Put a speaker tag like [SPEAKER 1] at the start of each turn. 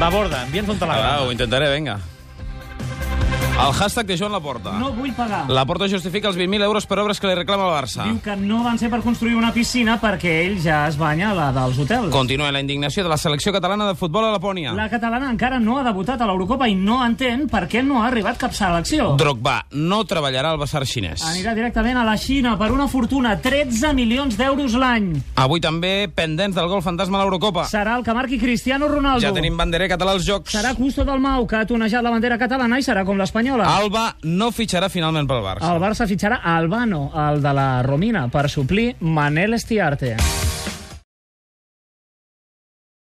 [SPEAKER 1] Va, Borda, envia'ns un telegrama.
[SPEAKER 2] Ah, ho intentaré, vinga. El hashtag de Joan Laporta.
[SPEAKER 3] No vull pagar.
[SPEAKER 2] La Porta justifica els 20.000 euros per obres que li reclama el Barça.
[SPEAKER 3] Diu que no van ser per construir una piscina perquè ell ja es banya a la dels hotels.
[SPEAKER 2] Continua la indignació de la selecció catalana de futbol a Lapònia.
[SPEAKER 3] La catalana encara no ha debutat a l'Eurocopa i no entén per què no ha arribat cap selecció.
[SPEAKER 2] Drogba no treballarà al Bassar xinès.
[SPEAKER 3] Anirà directament a la Xina per una fortuna, 13 milions d'euros l'any.
[SPEAKER 2] Avui també pendents del gol fantasma a l'Eurocopa.
[SPEAKER 3] Serà el que marqui Cristiano Ronaldo.
[SPEAKER 2] Ja tenim banderer català als Jocs.
[SPEAKER 3] Serà Custo del Mau, que ha tonejat la bandera catalana i serà com l'espanyola.
[SPEAKER 2] Alba no fitxarà finalment pel Barça.
[SPEAKER 3] El Barça fitxarà Albano, el de la Romina, per suplir Manel Estiarte.